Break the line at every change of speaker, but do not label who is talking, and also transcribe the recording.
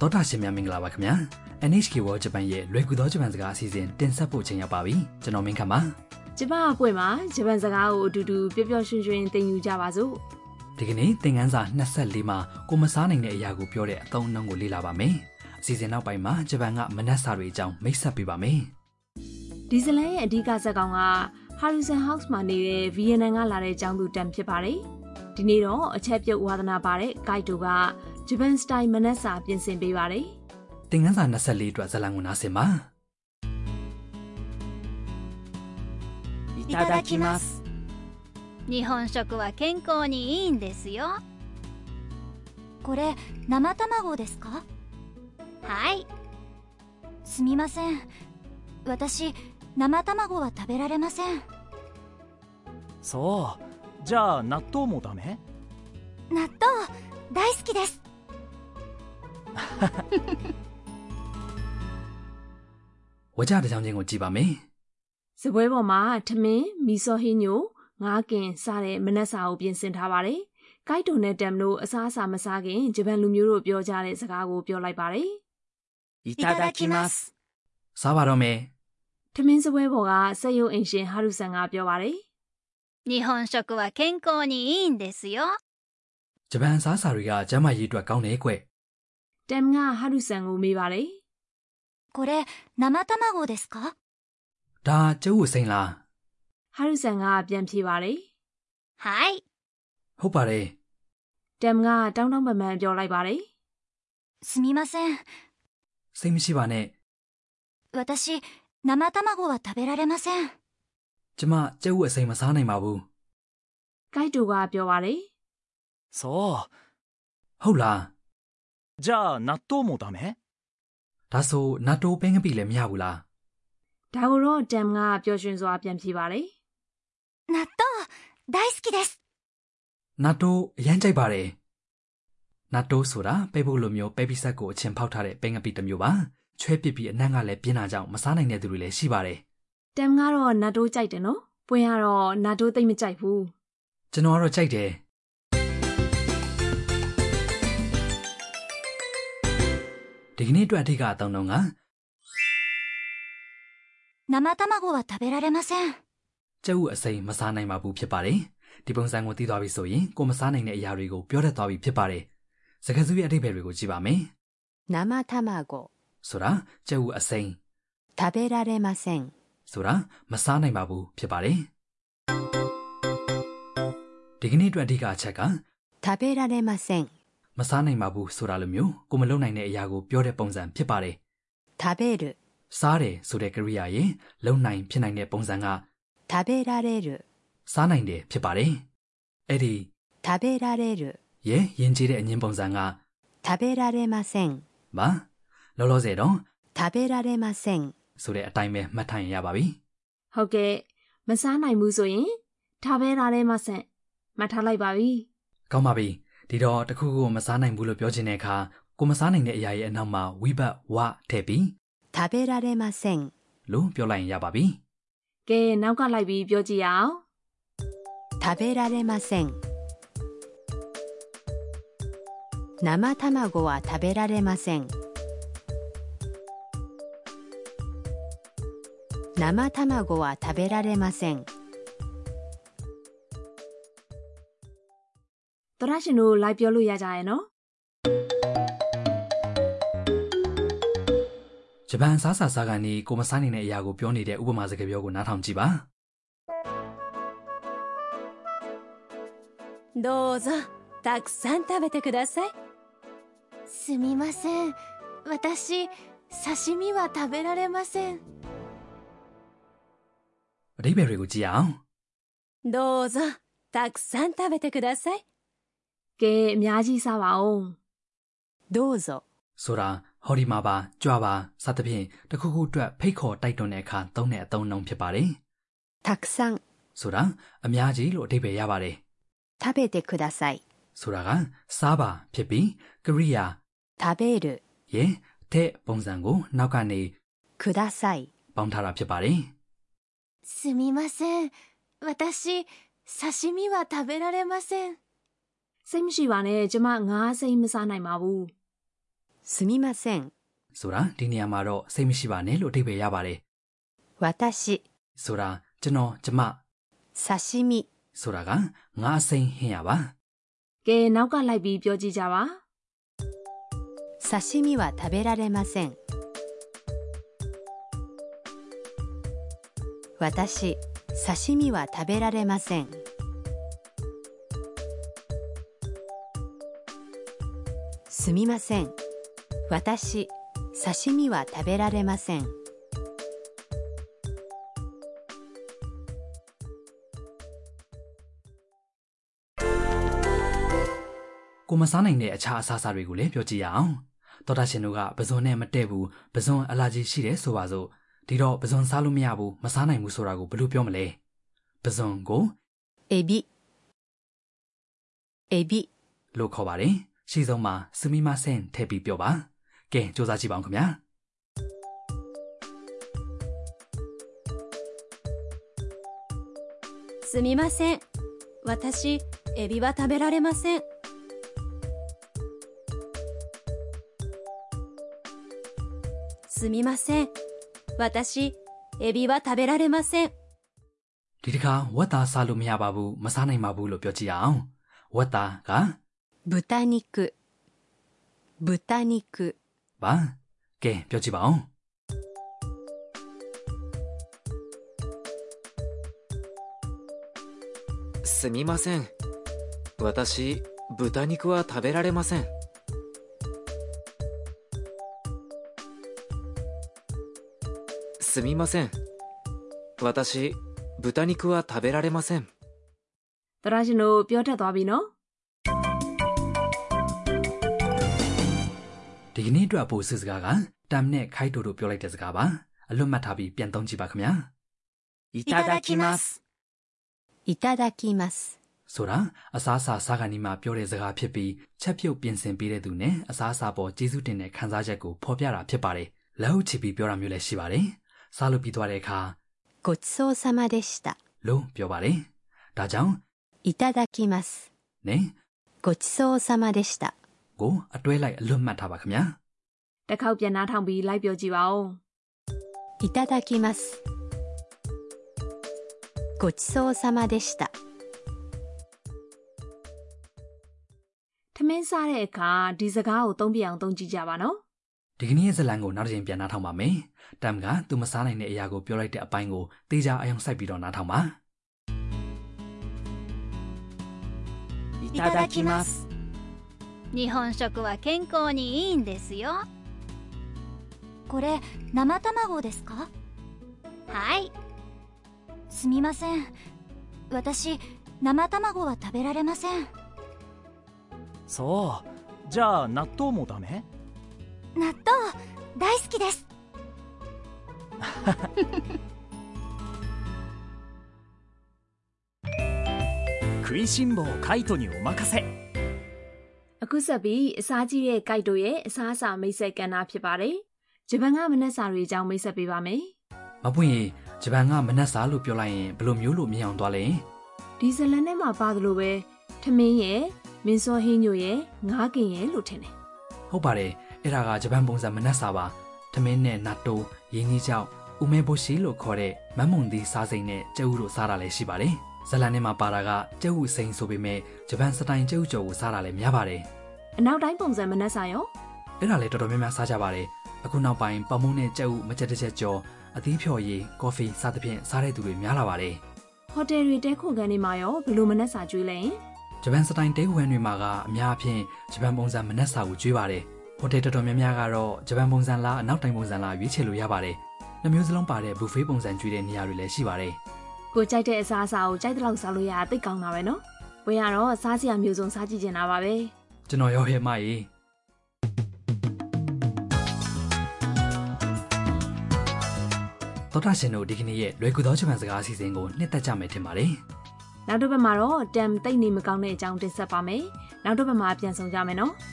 တောတာရှင်များမင်္ဂလာပါခင်ဗျာ NHK World Japan ရဲ့လွယ်ကူသောဂျပန်စကားအစီအစဉ်တင်ဆက်ဖို့ချိန်ရောက်ပါပြီကျွန်တော်မင်းခမ်းပါ
ကျမအပွင့်မှာဂျပန်စကားကိုအတူတူပျော်ပျော်ရွှင်ရွှင်သင်ယူကြပါစို့
ဒီကနေ့သင်ခန်းစာ24မှာကိုမစားနိုင်တဲ့အရာကိုပြောတဲ့အသုံးအနှုန်းကိုလေ့လာပါမယ်အစီအစဉ်နောက်ပိုင်းမှာဂျပန်ကမနက်စာတွေအကြောင်းမိတ်ဆက်ပေးပါမယ်
ဒီဇလန်ရဲ့အဓိကဇာတ်ကောင်က Harrison House မှာနေတဲ့ VNN ကလာတဲ့ကျောင်းသူတန်ဖြစ်ပါတယ်ဒီနေ့တော့အချက်ပြုတ်ဝါသနာပါတဲ့ Guide တို့ကဂျပန်စတိုင်မနက်စာပြင်ဆင်ပေးပါတယ်
သင်ခန်းစာ24အတွက်ဇာတ်လမ်းကိုနားဆင်ပါ
いただきます日本食は健康にいいんですよ
これ生卵ですか
はい
すみません私生卵は食べられません
そうじゃあ納豆もダメ
納豆大好きです
ဝါကြတစ်ချောင်းချင်းကိုကြည့်ပါမယ်
ဇပွဲပေါ်မှာထမင်းမီဆိုဟင်းညိုငါးကင်စတဲ့မနက်စာကိုပြင်ဆင်ထားပါတယ် Guide တို့နဲ့တမ်တို့အစားအစာမစားခင်ဂျပန်လူမျိုးတို့ပြောကြတဲ့စကားကိုပြောလိုက်ပါတယ်
い
いす
စားပါတော့မယ်
ထမင်းစပွဲပေါ်ကစက်ရုံအင်ရှင်ဟာရုဆန်ကပြောပါတယ်
日本食は健康にいいんですよ
ဂျပန်အစားအစာတွေကကျန်းမာရေးအတွက်ကောင်းတယ်ကွ
။တမ်ကဟာရုဆန်ကိုမေးပါတယ်
これ生卵ですか
ဒါကျုပ်ဝစိန်လား
။ဟာရုဆန်ကပြန်ဖြေပါတယ်
はい
ဟုတ်ပါတယ်
။တမ်ကတောင်းတောင်းပန်ပန်ပြောလိုက်ပါတယ်
すみません
စိတ်မရှိပါနဲ့
私生卵は食べられません
ကျမကျုပ်ဝအစိန်မစားနိုင်ပါဘူး
။ကိုက်တူကပြောပါတယ်
そ
ဟုတ်လား
うじゃあ納豆もダメ
ဒါဆိုနာတိုးပင်းကပိလည်းမရဘူးလား
။ဒါကိုတော့တမ်ကပျော်ရွှင်စွာပြန်ဖြေပါတယ်
納豆大好きです
နာတိုးအရန်ကြိုက်ပါတယ်နာတိုးဆိုတာပဲဖို့လိုမျိုးပဲပိဆက်ကိုအချင်းဖောက်ထားတဲ့ပင်းကပိတစ်မျိုးပါချွဲပစ်ပြီးအနံ့ကလည်းပြင်းတာကြောင့်မစားနိုင်တဲ့သူတွေလည်းရှိပါတယ်
။တမ်ကတော့နတ်တိုးကြိုက်တယ်နော်။ပွင့်ကတော့နတ်တိုးသိမ့်မကြိုက်ဘူး
ကျွန်တော်ကတော့ကြိုက်တယ်ဒီကနေ့အတွက်အထက်ကအတောင်းတော့က
生卵は食べられません
ကျုပ်အစိမ်မစားနိုင်ပါဘူးဖြစ်ပါတယ်ဒီပုံစံကိုသိသွားပြီဆိုရင်ကိုယ်မစားနိုင်တဲ့အရာတွေကိုပြောတတ်သွားပြီဖြစ်ပါတယ်စကားစုရဲ့အထိပ္ပယ်တွေကိုကြည့်ပါမယ်
生卵
ဆိုတာကျုပ်အစိမ်
食べられません
ဆိုတာမစားနိုင်ပါဘူးဖြစ်ပါတယ်ဒီကနေ့အတွက်အဓိကအချက်က
食べられません
မစားနိုင်ပါဘူးဆိုတာလိုမျိုးကိုမလုံနိုင်တဲ့အရာကိုပြောတဲ့ပုံစံဖြစ်ပါတယ်
食べる
စားတယ်ဆိုတဲ့ကရိယာရင်လုံနိုင်ဖြစ်နိုင်တဲ့ပုံစံက
食べられる
စားနိုင်တယ်ဖြစ်ပါတယ်အဲ့ဒီ
食べられる
ရဲ့ယဉ်ကျေးတဲ့အငင်းပုံစံက
食べられません
မလောလောဆယ်တော့
食べられません
ဆိုတဲ့အတိုင်းပဲမှတ်ထားရင်ရပါပြီ
။ဟုတ်ကဲ့။မစားနိုင်ဘူးဆိုရင်ထားပဲထားတယ်မဆန့်။မှတ်ထားလိုက်ပါပြီ
ကောင်းပါပြီဒီတော့တစ်ခုခုကိုမစားနိုင်ဘူးလို့ပြောချင်တဲ့အခါကိုမစားနိုင်တဲ့အရာရဲ့အနောက်မှာဝိဘတ်ဝထည့်ပြီး
食べられません
လို့ပြောလိုက်ရင်ရပါပြီ
။ကဲနောက်ကလိုက်ပြီးပြောကြည့်ရအောင်။
食べられません生卵は食べられません生卵は食べられません
တော်ရရှင်တို့လိုက်ပြောလို့ရကြရဲ့နော်
ဂျပန်စားစာစားကနေကိုမစားနိုင်တဲ့အရာကိုပြောနေတဲ့ဥပမာစကားပြောကိုနားထောင်ကြည့်ပါ
どうぞたくさん食べてください
すみません私刺身は食べられません
အဓိပ္ပာယ်တွေကိုကြည့်အောင်
どうぞたくさん食べてください
။ကဲအများကြီးစားပါအောင်
どうぞ
ဆိုတာဟော်ဒီမာပါကြွပါစသဖြင့်တစ်ခုခုအတွက်ဖိတ်ခေါ်တိုက်တွန်းတဲ့အခါသုံးတဲ့အသုံးအနှုန်းဖြစ်ပါတယ်
たくさん
ဆိုတာအများကြီးလို့အဓိပ္ပာယ်ရပါတယ်
食べてください
ဆိုတာကစားပါဖြစ်ပြီးကရိယာ
食べる
ရဲ့တဲ့ပုံစံကိုနောက်ကနေ
ください
ပေါင်းထားတာဖြစ်ပါတယ်
すみません私刺身は食べられません
။စိတ်မရှိပါနဲ့ကျမငါးစိတ်မစားနိုင်ပါဘူး
すみません。
ဆိုတာဒီနေရာမှာတော့စိတ်မရှိပါနဲ့လို့အဓိပ္ပာယ်ရပါတယ်
私、
ဆိုတာကျွန်တော်ကျမ
刺身、
ဆိုတာကငါအစိမ်းဟင်းရပါ
ကဲနောက်ကလိုက်ပြီးပြောကြည့်ကြပါ
刺身は食べられません。私、刺身は食べられません。すみません。私、刺身は食べられません。
ကိုမစားနိုင်တဲ့အခြားအစားအစာတွေကိုလည်းပြောကြည့်ရအောင်တော်တာရှင်တို့ကပဇွန်နဲ့မတည့်ဘူးပဇွန်အလာကြီးရှိတယ်ဆိုပါစို့ဒီတော့ပဇွန်စားလို့မရဘူးမစားနိုင်ဘူးဆိုတာကိုဘယ်လိုပြောမလဲပဇွန်ကို
エビ、エビ、
လို့ခေါ်ပါတယ်ရှိဆုံးမှာစမီမာဆန်ထည့်ပြီးပြောပါကဲစူးစမ်းကြည့်ပါအောင်ခင်ဗျာ
すみません私エビは食べられませんすみません私エビは食べられません
ဒီတစ်ခါဝက်သားစားလို့မရပါဘူးမစားနိုင်ပါဘူးလို့ပြောကြည့်ရအောင်ဝက်သားက
豚肉、豚肉、
ပါကဲပြောကြည့်ပါအောင်
すみません私豚肉は食べられませんすみません私豚肉は食べられません
တော်တာရှင်တို့ပြောတတ်သွားပြီနော်
ဒီကနေ့အတွက်အဖို့စစ်စကားကတမ်နဲ့ခိုက်တိုတို့ပြောလိုက်တဲ့စကားပါအလွတ်မှတ်ထားပြီးပြန်သုံးကြည့်ပါခင်ဗျာ
い
ただきます
いただきます。
ဆိုတာအစားအစာစားကန်ဒီမှာပြောတဲ့စကားဖြစ်ပြီးချက်ပြုတ်ပြင်ဆင်ပေးတဲ့သူနဲ့အစားအစာပေါ်ကျေးဇူးတင်တဲ့ခံစားချက်ကိုဖော်ပြတာဖြစ်ပါတယ်လက်ဟုတ်ချပြီးပြောတာမျိုးလည်းရှိပါတယ်စားလို့ပြီးသွားတဲ့အခါ
ごちそうさまでした。
လို့ပြောပါတယ်ဒါကြောင့်
いただきます。
နဲ
ごちそうさまでした。
ကိုအတွဲလိုက်အလွတ်မှတ်ထားပါခင်ဗျာ
တစ်ခေါက်ပြန်နားထောင်ပြီးလိုက်ပြောကြည့်ပါဦး
いただきます。ごちそうさまでした。
ထမင်းစားတဲ့အခါဒီစကားကိုသုံးပြအောင်သုံးကြည့်ကြပါနော်
ဒီကနေ့ရဲ့ဇတ်လံကိုနောက်တစ်ချိန်ပြန်နှားထောင်ပါမယ်တမ်ကသူမစားနိုင်တဲ့အရာကိုပြောလိုက်တဲ့အပိုင်းကိုတေချာအယုံစိုက်ပြီးတော့နှားထောင်ပါ
いただきます
日本食は健康にいいんですよは
これ生卵ですか
い
すみません私生卵は食べられません
そうじゃあ納豆もダメ
納豆大好きです
食いしん坊カイトにお任せ
အခုဆက်ပြီးအစားကြီးတဲ့ကိုက်တို့ရဲ့အစားအစာမိတ်ဆက်ကဏ္ဍဖြစ်ပါတယ်ဂျပန်ကမနက်စာတွေအကြောင်းမိတ်ဆက်ပေးပါမယ်
မပွင့်ရင်ဂျပန်ကမနက်စာလို့ပြောလိုက်ရင်ဘယ်လိုမျိုးလို့မြင်အောင်သွားလဲ
ဒီဇလန်နဲ့မှာပါသလိုပဲထမင်းရဲ့မင်းစောဟင်းညိုရဲ့ငါးကင်ရဲ့လို့ထင်တယ်
ဟုတ်ပါတယ်အဲ့ဒါကဂျပန်ပုံစံမနက်စာပါထမင်းနဲ့နာတိုရင်းကြီးကြောက်ဥမေဘိုရှိလို့ခေါ်တဲ့မမ်မွန်သီးစားစိမ်နဲ့ကျဲဥတို့စားတာလည်းရှိပါတယ်ဇလန်နဲ့မှာပါတာကကျဲဥစိမ်ဆိုပေမဲ့ဂျပန်စတိုင်ကျဲဥကျော်ကိုစားတာလည်းများပါတယ်
အနောက်တိုင်းပုံစံမနက်စာရော
အဲ့ဒါလည်းတော်တော်များများစားကြပါတယ်အခုနောက်ပိုင်းပမုံနဲ့ကျဲဥမကြက်တစ်ချက်ကျော်အသီးဖြော်ရည်ကော်ဖီစသဖြင့်စားတဲ့သူတွေများလာပါတယ်
ဟိုတယ်တွေတဲခိုခန်းတွေမှာရောဘယ်လိုမနက်စာကျွေးလဲရင်
ဂျပန်စတိုင်တဲဝမ်တွေမှာကအများအပြားဂျပန်ပုံစံမနက်စာကိုကျွေးပါတယ်။ဟိုတယ်တော်တော်များများကတော့ဂျပန်ပုံစံလားအနောက်တိုင်းပုံစံလားရွေးချယ်လို့ရပါတယ်။နှမျိုးစလုံးပါတဲ့ဘူဖေးပုံစံကျွေးတဲ့နေရာတွေလည်းရှိပါတယ်
ကိုကြိုက်တဲ့အစားအစာကိုကြိုက်တဲ့လောက်စားလို့ရတာသိပ်ကောင်းတာပဲနော်ဝယ်ရတော့စားစရာမျိုးစုံစားကြည့်ကျင်တာပါပဲ
။ကျွန်တော်ရောက်ရဲ့မရေတော်တာရှင်တို့ဒီကနေ့ရဲ့လွယ်ကူသောဂျပန်စကားအစီအစဉ်ကိုနှစ်သက်ကြမယ်ထင်ပါတယ်
နောက်တစ်ပတ်မှာတော့တမ်တိတ်နေမကောင်းတဲ့အကြောင်းတင်ဆက်ပါမယ်။နောက်တစ်ပတ်မှာပြန်ဆောင်ကြမယ်နော်။